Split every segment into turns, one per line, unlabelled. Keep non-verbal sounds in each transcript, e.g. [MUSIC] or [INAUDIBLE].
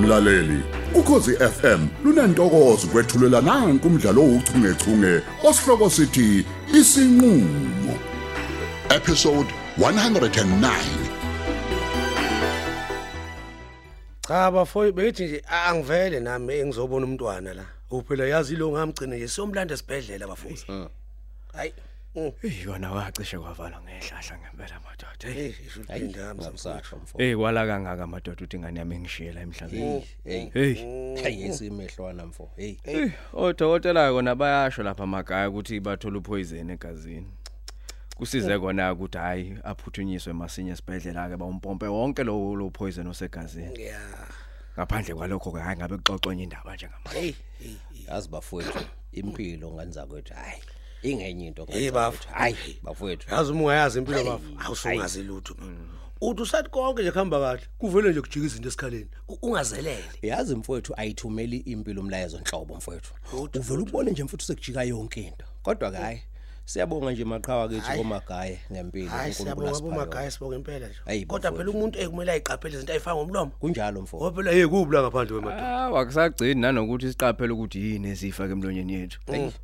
mlaleli ukhosi FM lunantokozo kwethulela nange kumdlalo ouchungechunge osihloko sithi isinqulo episode 109
cha bafoyi bethi nje "Ah, angivele nami engizobona umntwana la uphela yazi lo ngamgcina nje siyomlanda esibhedlela bafuzi hayi mm,
Eyi yona wacishe kwavala ngehlahla ngempela madoda. Hey.
eh, isho uliphinda
ngamsasha mfo
Mm.
Hey kwala kangaka madoda uthi ingane yami engishiye la emhlabeni.
hey
Mm.
Hey.
hey isimehlwana mfo hey
Eh, Odokotela kona bayasho lapha amagaya ukuthi bathola upoison egazini. Kusize kona ukuthi hayi aphuthunyiswe masinye esibhedlela ke bawumpompe wonke lo lo poison osegazini.
ya
Ngaphandle kwalokho ke hayi ngabe kuxoxa enye indaba nje ngamanje.
hey
yazi bafowethu impilo nganza kwethu hayi ingenye into
Hey,
nganza
bafo.
kwethu hayi bafowethu Mm.
yazi uma ungayazi impilo bafo awusungazi lutho uthi usathi konke nje kuhamba kahle kuvele nje kujika izinto esikhaleni U- ungazelele
yazi mfowethu ayithumeli impilo umlayezo enhlobo mfowethu uvela ubone nje mfowethu sekujika yonke into kodwa ke hayi siyabonga nje maqhawe kethu komagaya ngempilo
hayi
uNkulunkulu
siyabonga
asipha yona.
bomagaya sibonge impela nje
Hayi,
kodwa
bafowethu.
phela umuntu ekumele ayiqaphele izinto ayifaka ngomlomo
kunjalo mfowethu
ngoba phela hey kubula ngaphandle kwemadoda
Ah wakusagcini nanokuthi siqaphele ukuthi yini esifa ke emlonyeni yethu.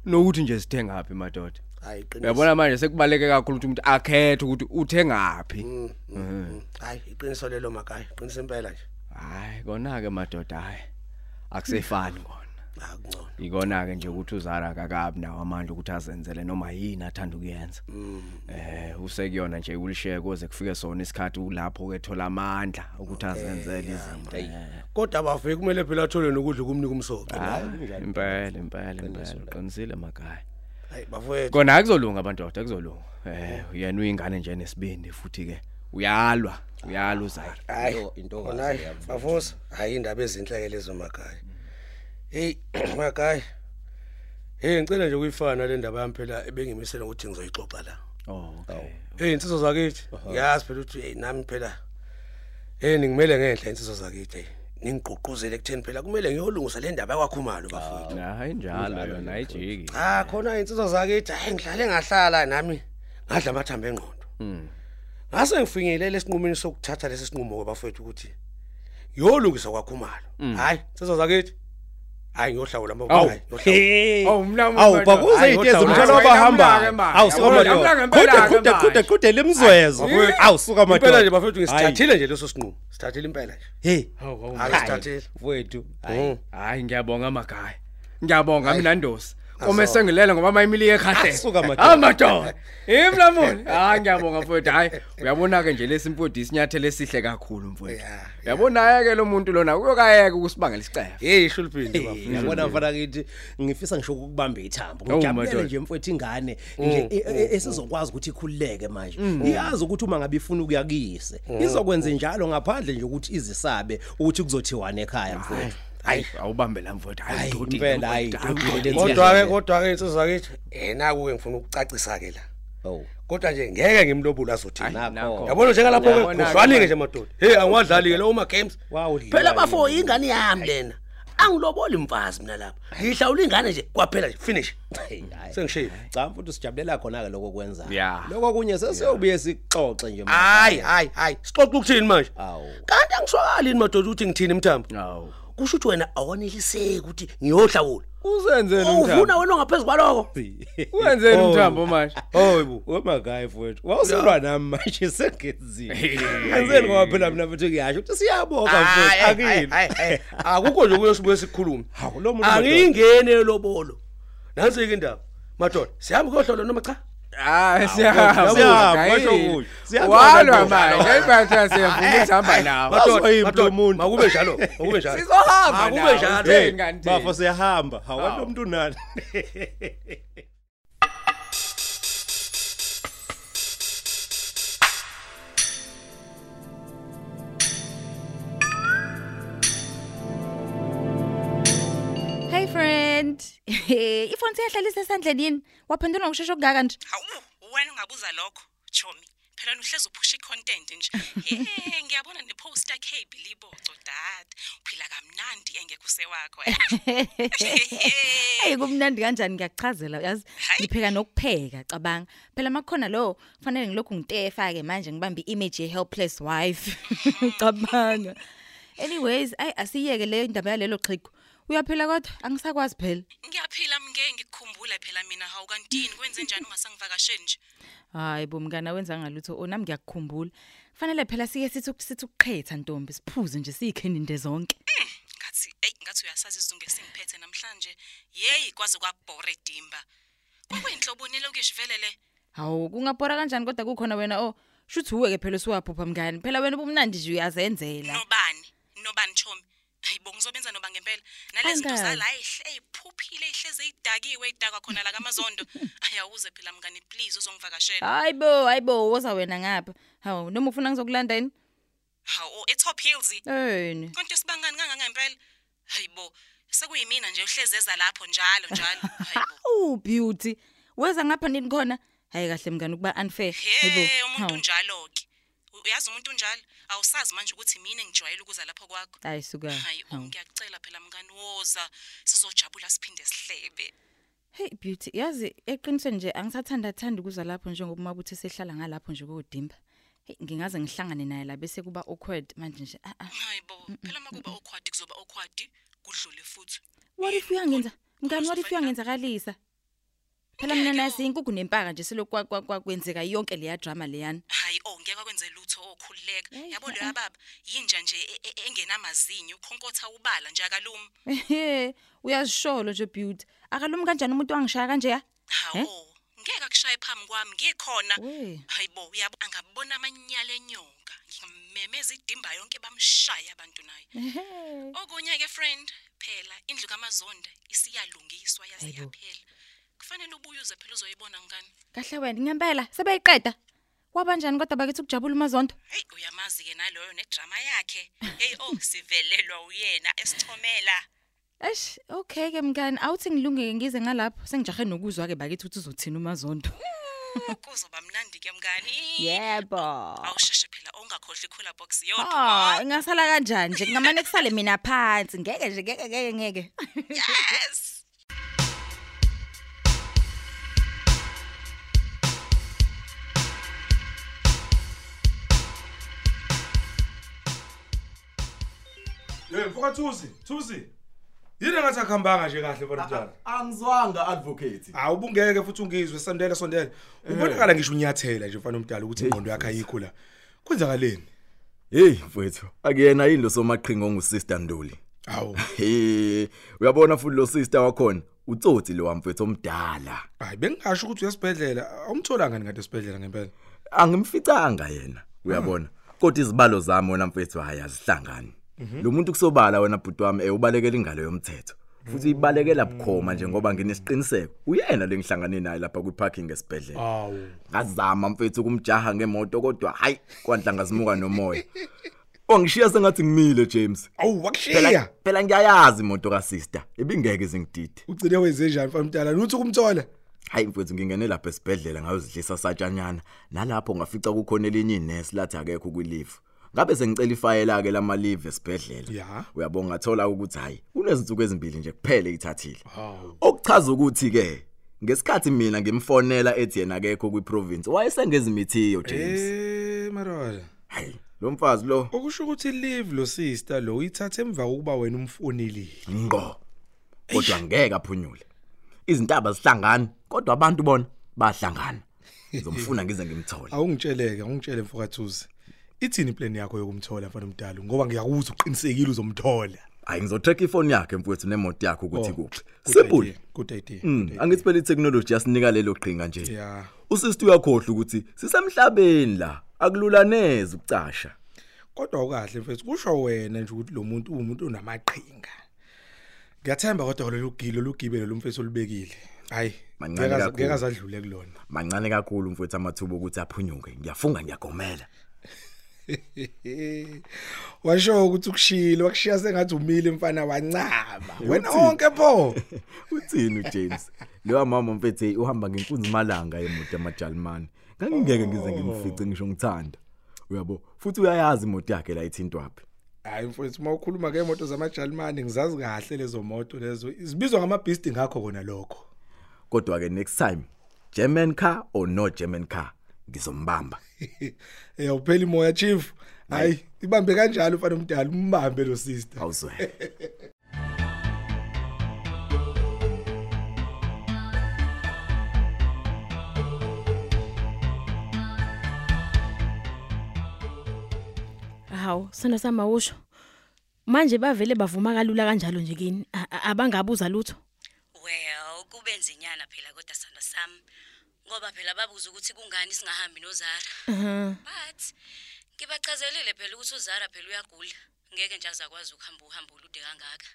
Nokuthi nje sithenga phi madoda.
Mm. hayi iqiniso
Uyabona manje sekubaleke kakhulu ukuthi umuntu akhethe ukuthi Eh, uthenga phi.
Mm, hayi iqiniso lelo magaya iqiniso impela nje
Hayi kona ke madoda hayi. Akusefani kona.
akungcono
Ikona ke nje ukuthi uZara kakabi nawo amandla ukuthi azenzele noma yini athanda ukuyenza.
Mm.
Eh usekuyona nje wheelchair koze kufike sona isikhathi ulapho ke thola amandla ukuthi azenzele izinto. Eh,
kodwa abafiki kumele phela athole nokudla kumnika umsoco
hayi, Ah, Impela impela impela uqinisile magaya.
hayi bafowethu
Kona akuzolunga abandoda akuzolunga. Eh yena uyingane nje nesibindi futhi ke uyalwa uyalwa uZara.
hayi
Into- into
khona
kahle
hayi,
yabafowethu.
bafosa hayi indaba ezinhleke lezo magaya hey [CLEARS THROAT] magaya hey ngicela nje ukuyifana le ndaba yami phela ebengimisela ukuthi ngizoyixoxa la
Oh okay.
hey insizwa zakithi yazi phela ukuthi hey nami phela hey ningimele ngenhla insizwa zakithi hey ningiqoqozele kutheni phela kumele ngiyolungisa le ndaba yakwakhumalo bafowethu
Hayi njalo yona ayijiki.
Ah khona insizwa zakithi hayi ngihlale ngahlala nami ngadla amathambo engqondo. Mhm.
Hmm.
Ngase ngifinyelele esinqumeni sokuthatha lesi sinqumo kwabafethu ukuthi yolungisa kwakhumalo.
Mm.
Hayi insizwa zakithi hayi ngiyohlawula mama
Awu.
hayi ngiyohlawula.
Awu mna
Awu bakuze
Hayi,
idezi
kodwa-
umthwalo
Hayi,
abahamba. Awu suka
Awusuka
madoda. Kude kude kude kude lemzwezo. Awu suka madoda.
Impela nje bafethu
Hayi.
ngisithathile nje leso sinqumo. Sithathile impela nje.
Hey.
Hayi sithathile.
Wethu.
Mhm.
Hmm.
Hayi ngiyabonga amagaya. Ngiyabonga mina Ndosi. Kome sengilele ngoba mayimili ekhahle.
Asuka madoda.
Ah, Amadoda. Imlamuli. Hayi ngiyabonga mfowethu. Hayi uyabona ke nje lesimfodi isinyathelo esihle kakhulu mfowethu.
Yeah,
Uyabona ke lo muntu lona uyokayeka ukusibangela isicefo.
Hey shulphindi bafethu.
Yabona mfana kithi ngifisa ngisho ukubamba ithambo
Oh, madoda.
ngijabulele nje mfowethu ingane
Oh,
nje e- e- esizokwazi ukuthi ikhululeke manje
Mm.
iyazi ukuthi uma ngabe ifuna ukuyakise izokwenza njalo ngaphandle nje ukuthi izisabe ukuthi kuzothiwana ekhaya mfowethu
Hayi awubambe la mfowethu. Hayi
Hayi,
dodi.
impela, hayi, dodi, le nsi-
Kodwa ke kodwa ke insizwa zakithi yena kuwe ngifuna ukucacisa ke la.
oh
Kodwa nje ngeke ngimlobule azothini.
nakho.
yabona njengalapho ke
Yabona-ke
kudlwaninge nje madoda hey angiwadlali ke lawo ma games
Wawudlala
phela bafo ingane yami lena angiloboli mfazi mina lapha ngihlawula ingane nje kwaphela nje finish
Hey, hayi.
sengishilo
cha futhi sijabulela khona ke lokho kwenzayo
Yeah.
lokho kunye sesiyobuye sixoxe nje manje.
hayi hayi hayi sixoxe ukuthini manje
Awu.
kanti angiswakalini madoda ukuthi ngithini mthambo
Awu.
kusho ukuthi wena awaneliseki ukuthi ngiyohlawula
Uzenzele
uvuna
umthambo.
wena ongaphezu kwaloko
Uzenzele
Oh.
umthambo manje.
hoyi bo
wemagaya mfowethu wawusilwa nami manje sengenzile
[LAUGHS]
ngenzeni ngoba phela mina futhi ngiyasho ukuthi
Ah,
siyabonga mfowethu
Hayi, hayi,
akini
hayi, hayi. akukho nje kuyo sibuye sikhulume
Hawu, lo muntu
angiyingene elobolo nansi-ke indaba madoda sihambe kuyohlola noma cha
Ah siyahamba
siyahamba,
Hayi.
kwasho ukuthi. Siyahamba
Walwa
ndoda.
manje ibatha siyafuna ukuhamba nawe.
Madoda,
Madoda,
madoda,
madoda, makube njalo makube njalo
Sizohamba
Akube
nawe,
njalo.
utheni
Hey,
kanti?
bafo siyahamba hawalo muntu nani
Hey friend. [LAUGHS] Ifoni siyahlalisa esandleni yini? Waphendula ngokusheshsha okungaka nje.
Hawu, wena ungabuza lokho, Chomi. Phela uhlezi uphusha icontent nje. Hey, ngiyabona neposter KB liboco dad. Uphila kamnandi eh? engekho sewakho.
[LAUGHS] Hey kumnandi kanjani ngiyakuchazela uyazi
Hayi.
ngipheka nokupheka cabanga. Phela makukhona lo kufanele ngilokhu ngitefa ke manje ngibambe image ye helpless wife. [LAUGHS] Cabanga. anyways ayi asiyeke leyo indaba yalelo xhego uyaphila kodwa angisakwazi phela
Ngiyaphila mngeke ngikukhumbule phela mina hawu kantini kwenze njani ungasangivakasheli nje?
hayi bomngana wenza ngalutho o nami ngiyakukhumbula kufanele phela sike sithi sithi ukuqhetha ntombi siphuze nje siyikheninde zonke
Hmm, Ngathi hey ngathi uyasazi izizungu esingiphethe namhlanje. Yeyi kwaze kwabhore dimba. Kwakuyinhlobonelo kuyishivelele.
hawu kungabhora kanjani kodwa kukhona wena o shuthi uwe-ke phela usuwaphupha mngani phela wena ubumnandi nje uyazenzela
Nobani? Nobani Thomi? Hayibo ngizobenza noba ngempela. Nalezi zinto
Angazi.
zala ehle eziphuphile ehleze idakiwe idakwa khona la
[LAUGHS]
kamazondo. Ayawuze phela mngani please uzongivakashela.
hayi bo hayi bo woza wena ngapha hawu noma ufuna ngizokulanda yini
Hawu eTop Hills.
eyini
Konke sibangani kangaka ngempela? Hayibo sekuyimina nje uhlezeza lapho njalo njalo.
[LAUGHS]
Hayibo.
awu beauty weza ngapha nini khona hayi kahle mngani ukuba unfair hayi
Hey
bo.
umuntu
Hawu.
unjalo ke. U- Uyazi umuntu unjalo awusazi manje ukuthi mina engijwayele ukuza lapho kwakho.
hayi suka
Hayi
hawu.
ngiyacela phela mngani woza sizojabula siphinde sihlebe.
hey beauty yazi eqinisweni nje angisathanda thanda ukuza lapho njengoba umabuthi sehlala ngalapho nje kodimba hey ngingaze ngihlangane naye la bese kuba awkward manje nje a a
Hayibo phela makuba okhwadi kuzoba okhwadi kudlule futhi.
what if uyangenza mngani what if uyangenzakalisa phela mina nasi inkukhu nempaka nje selokwa kwa- kwa- kwenzeka yonke leya drama leyana
Hayi oh ngeke akwenze lutho okhululeka. Yabo lo yababa yinja nje e- e- engenamazinyo ukhonkotha ubala nje akalumi.
ehe uyazisholo nje beauty akalumi kanjani umuntu wangishaya kanje ya Eh?
Hawo ngeke akushaye phambi kwami ngikhona.
We.
Hayibo uyabo angabona amanyala enyoka. Ngimemeza idimba yonke bamshaya abantu naye.
ehe
Okunye ke friend, phela indlu kaMazonda isiyalungiswa yaze
Hayibo.
yaphela. Kufanele ubuye uze phela uzoyibona ngani.
kahle wena ngempela sebeyiqeda kwabanjani kodwa bakithi ukujabula umazonto
Hey uyamazi ke naloyo nedrama yakhe. Hey oh sivelelwa uyena esithomela.
eish okay ke mngani awuthi ngilungeke ngize ngalapho sengijahe nokuzwa ke bakithi ukuthi uzothina umazonto
Hmm, Kuzoba mnandi ke mngani.
[LAUGHS] yebo
Awusheshe phela ongakhohlwa ikhula box yodwa.
Ah, ingasala kanjani nje ngamane kusale mina phansi ngeke nje ngeke ngeke ngeke
Yes.
Hey mfoka Thuzi, Thuzi. Yini ngathi akuhambanga nje kahle bona mntana?
Angizwanga advocate. Eh.
Hawu ubungeke futhi ungizwe sondela sondela. Ubonakala ngisho unyathela nje mfana omdala ukuthi ingqondo yakhe ayikho la. Kwenzakaleni?
Hey mfethu, akuyena yini lo somaqhingo ongusister Nduli.
Hawu.
He, uyabona futhi lo sister wakhona, utsotsi lo wamfethu omdala.
Hayi bengasho ukuthi uyasibhedlela. Awumtholanga ngani kanti esibhedlela ngempela.
Angimficanga yena, uyabona. Kodwa izibalo zami wena mfethu hayazihlangani.
Mhm.
Lo muntu kusobala wena bhuti wami eh ubalekela ingalo yomthetho. futhi ibalekela bukhoma nje ngoba nginesiqiniseko uyena lengihlangane naye lapha kwiparking esibhedlela
Hawu.
ngazama mfethu kumjaha ngemoto kodwa hayi kwanhlanga zimuka nomoya ongishiya sengathi ngimile James
Awu
phela
wakushiya.
phela ngiyayazi imoto ka sister ibingeke zingidide
Ugcine wenze njani mfana omdala? Nuthi kumthola.
hayi mfethu ngingene lapha esibhedlela ngayozidlisa satshanyana nalapho ngafica kukhona elinye inesi lathi akekho kwilive ngabe sengicela ifayela ke lama leave esibhedlela
Ya.
uyabonga thola ukuthi hayi kunezinsuku ezimbili nje kuphele ithathile
Hawu.
okuchaza ukuthi ke ngesikhathi mina ngimfonela ethi yena akekho kwiprovince wayesengezimithiyo James
Eh marola.
hayi lo mfazi lo
Okusho ukuthi leave lo sister lo uyithathe emva kokuba wena umfonelile.
ngo kodwa ngeke aphunyule izintaba zihlangana kodwa abantu bona bahlangana ngizomfuna ngize ngimthole
Awungitsheleke, awungitshele mfoka Thuzi. Ithini plan yakho yokumthola mfana omdala? Ngoba ngiyakuzwa uqinisekile uzomthola.
hayi ngizotrack ifoni yakhe mfowethu nemoto yakhe ukuthi
Oh,
kuphi
good
simple
idea, good idea
Mm,
good idea.
angithi phela itechnology yasinika lelo qhinga nje
ya
usister uyakhohlwa ukuthi sisemhlabeni la akululaneze ukucasha
kodwa ukahle mfethu kusho wena nje ukuthi lo muntu umuntu onamaqhinga ngiyathemba kodwa lolu gilo lugibelo lomfethu olubekile hayi
Mancane
ngeke aze-
kakhulu.
ngeke azadlule kulona [LAUGHS]
mancane kakhulu mfowethu amathuba ukuthi aphunyuke ngiyafunga
[LAUGHS]
ngiyagomela
washo ukuthi ukushilo wakushiya sengathi umile mfana wancaba wena wonke
[LAUGHS]
pho
uthini uJames leyo mama mfethu hey, uhamba ngenkunzi malanga yemoto yamajalimane ngangingeke ngize ngimfice ngisho ngithanda uyabo futhi uyayazi imoto yakhe la ithintwapi
hayi mfowethu uma ukhuluma ngeemoto zamajalimane ngizazi kahle lezo moto lezo zibizwa ngamabhisti ngakho kona lokho
kodwa ke next time German car or no German car
[LAUGHS]
ngizombamba
Uyawuphela imoya chief. Hayi, ibambe kanjalo mfana omdala umbambe lo sister.
awuzwele
[LAUGHS]
[LAUGHS] hawu sithanda samawusho manje bavele bavuma kalula kanjalo nje kini A- a- abangabuza lutho
well kubenze inyala phela kodwa sithando sami ngoba phela babuza ukuthi kungani singahambi nozara but ngibachazelile phela ukuthi uzara phela uyagula ngeke nje azakwazi ukuhamba uhambo olude kangaka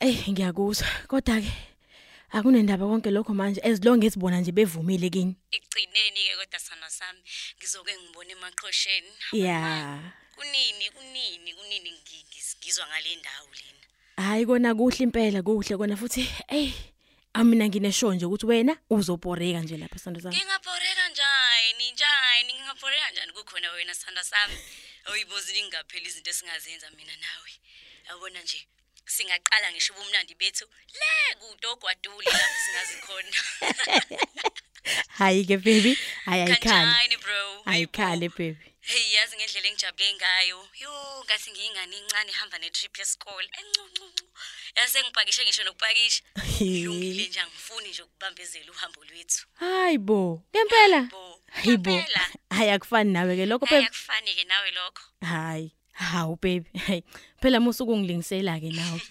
Eh ngiyakuzwa kodwa ke akunendaba konke lokho manje as long as bona nje bevumile kini
ekugcineni-ke kodwa sithando sami ngizoke ngibone emaqhosheni
ya
kunini kunini kunini ngi- ngi- ngizwa ngale ndawo lena
hayi kona kuhle impela kuhle kona futhi ey amina nginesho nje ukuthi wena uzoporeka nje lapha
[LAUGHS]
sando sami [LAUGHS]
ngingabhoreka njani njani ngingabhoreka njani kukhona wena sithanda sami oyibozini ngingapheli izinto esingazenza mina nawe yabona nje singaqala ngisho ubumnandi bethu le kude ogwadule lapho singazikhona [LAUGHS]
hayi ke baby hayi ayikhali
kanjani bro
ayikhali baby
heyi yazi ngendlela engijabule ngayo yo ngathi ngiyingane incane ihamba ne-trip yesikole Eh, encuncuncu yase ngipakishe ngisho nokupakisha ilungile nje angifuni nje ukubambezela uhambo lwethu
hayi bo ngempela
bo
hayi bo
ngempela.
hayi akufani nawe ke lokho baby
ayakufani-ke nawe lokho
hayi hawu baby hayi phela musuku ungilingisela ke nawe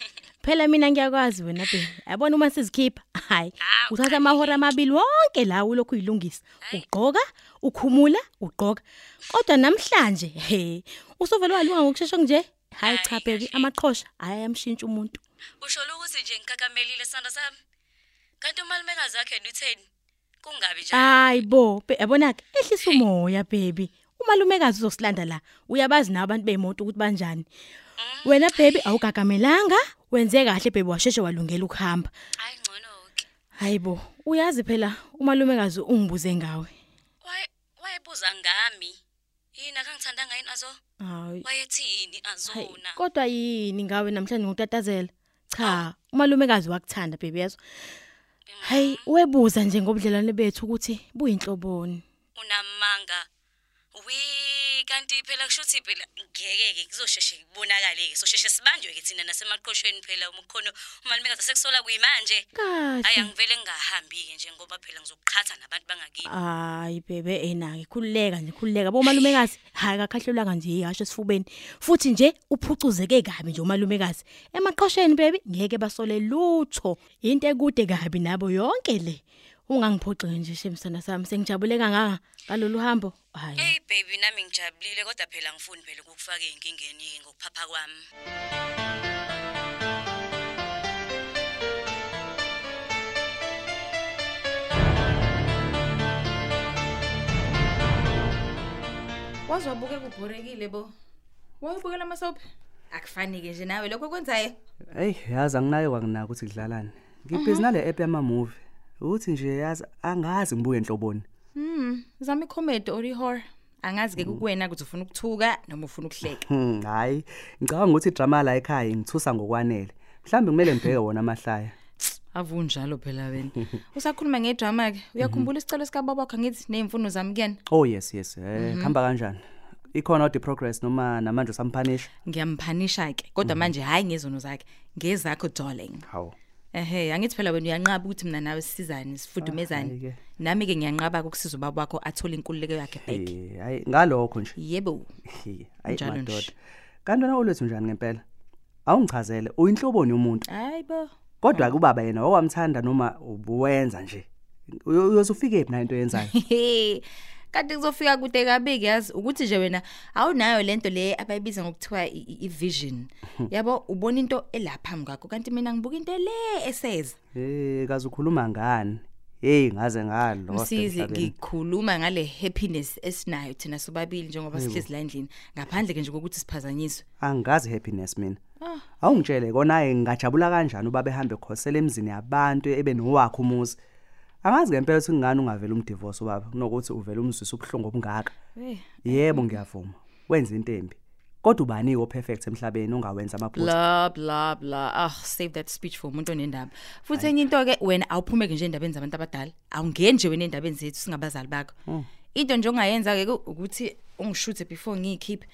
phela mina ngiyakwazi wena baby yabona uma sizikhipha hayi
Hawu,
uthatha amahora amabili wonke lawo lokhu uyilungisa ugqoka ukhumula ugqoka kodwa namhlanje he usuvele walunga ngokushesha nje hayi cha
Hayi,
baby
kahle.
amaqhosha ayamshintsha umuntu
usho lokuthi nje ngikakamelile sanda sami kanti umalumekazi wakhe lutheni kungabi njani
hayi bo be- yabona ke ehlisa umoya baby umalumekazi uzosilanda la uyabazi nawe abantu bemoto ukuthi banjani wena baby awugagamelanga wenze kahle baby washeshe walungela ukuhamba
hayi ngcono-ke
hayibo uyazi phela umalumekazi ungibuze ngawe
Waye- wayebuza ngami yini akangithandanga yini azo
hayi
wayethini
hayi,
azona
kodwa yini ngawe namhlanje ngokutatazela cha umalumekazi wakuthanda baby yezo hayi webuza nje ngobudlelwane bethu ukuthi buyinhloboni
unamanga wi kanti phela kusho ukuthi phela ngeke-ke kuzosheshe kubonakale-ke sosheshe sibanjwe-ke thina nasemaqoshweni phela uma kukhona umalumekazi asekusola kuyimanje hayi
kahle
angivele ngingahambi-ke njengoba phela ngizokuqhatha nabantu bangakini
Ah. hayi bebe enake khululeka nje khululeka bomalumekazi hayi akakhahlelwanga nje ihasho esifubeni futhi nje uphucuzeke kabi nje umalumekazi emaqhosheni bebi ngeke basole lutho into ekude kabi nabo yonke le ungangiphoxeki nje shemisana sami sengijabule kangaka ngalolu hambo hayi
eyi baby nami ngijabulile kodwa phela ngifuni phela ukukufaka ey'nkingeni-ke ngokuphapha kwami
Wazi wabuke kubhorekile bo. Wayibukela amasoap? Akufanike nje nawe lokho kwenzayo.
Hey, yazi anginayo kwakunaka ukuthi kudlalani. Ngibhizi nale app yama movie. Uthi nje yazi angazi ngibuke enhloboni.
Hmm, zama comedy or horror. Angazi ke kuwena ukuthi ufuna ukuthuka noma ufuna ukuhleka.
Hmm, hayi. Ngicabanga ukuthi idrama la ekhaya ngithusa ngokwanele. Mhlambe kumele ngibheke wona amahlaya.
Avunjalo phela wena. Usakhuluma ngedrama ke. Uyakhumbula isicelo sika baba wakho ngithi nezimfuno zami kuyena?
[LAUGHS] Oh yes, yes. Eh,
Mhm.
khamba kanjani? Ikhona out the progress noma namanje usamphanisha?
Ngiyamphanisha ke. Kodwa manje hayi ngezono zakhe, ngezakho darling.
Hawu.
Ehhe, angithi phela wena uyanqaba ukuthi mina nawe sisizane, sifudumezane.
Hhayi-ke.
Nami ke ngiyanqaba ukusiza ubaba wakho athole inkululeko yakhe back.
Eh, hayi ngalokho nje.
Yebo.
Hey, Hayi
Njalo nje.
madoda. Kanti wena olwethu njani ngempela? Awungichazele uyinhloboni yomuntu.
Hayibo.
Kodwa ke ubaba yena owamthanda noma ubuwenza nje. Uyo- Uyosufike phi na into
[LAUGHS]
yenzayo?
Hehe. kanti kuzofika kude kabiki yazi ukuthi nje wena awunayo lento le abayibiza ngokuthiwa i- i- i-vision yabo ubona into elaphambi kwakho kanti mina ngibuka into le eseza
Eh kaze ukhuluma ngani? Hey ngaze ngalo.
msizi ngikhuluma ngale happiness esinayo thina sobabili njengoba sihlezi la endlini ngaphandle ke nje kokuthi siphazanyiswe
angazi happiness mina.
Ah.
Awungitshele kona ke ngajabula kanjani uba behambe khosela emzini yabantu ebenowakho umuzi. Angazi ngempela ukuthi ngani ungavela umdivorce ubaba kunokuthi uvela umzwisa ubuhlungu obungaka.
Eh,
Yebo ngiyavuma. Wenza into embi. Kodwa ubani wo perfect emhlabeni ongawenza amaphutha?
bla bla bla ah save that speech for umuntu onendaba futhi enye into ke wena awuphumeke nje endabeni zabantu abadala awungeni nje wena endabeni zethu singabazali bakho into nje ongayenza ke ukuthi ungishuthe before ngiyikhiphe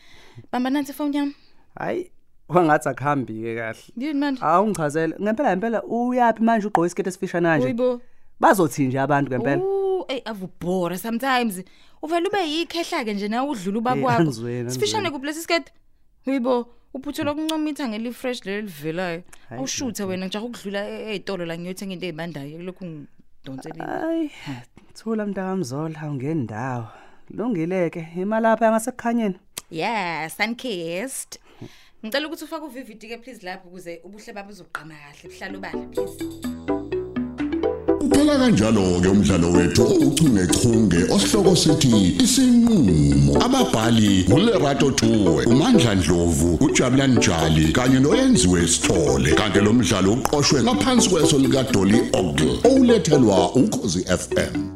bamba nansi phone yami
hayi wangathi akuhambi-ke kahle
yini manje
awungichazele ngempela ngempela uyaphi manje ugqoke isiketi esifishane kanje
uyibo
bazothi nje abantu ngempela
Ooh, ey avubhora sometimes uvela ube yikhehla ke nje nawe udlula
Eh,
ubakwakho
angizweli, angizweli.
sifishane kuplesi skate uyibo uphutho lokuncomitha ngelifresh leli livelayo awushuthe wena njaho ukudlula e- ey'tolo la ngiyothenga into ey'bandayo kulokhu ngidonselile
hayi thula mntakamzola awungeni ndawo kulungile-ke imali apha yangasekukhanyeni
yeah suncast ngicela ukuthi ufake uvividi-ke please lapho ukuze ubuhle babo uzogqama kahle buhlale ubala please
Uphela kanjalo ke umdlalo wethu ouchungechunge osihloko sithi isinqulo. Ababhali uLerato Tuwe, uMandla Dlovu, uJabulani Njali kanye noyenziwe Sithole. Kanti lo mdlalo uqoqwwe ngaphansi kweso lika Dolly Ogle. Owulethelwa ukhozi FM.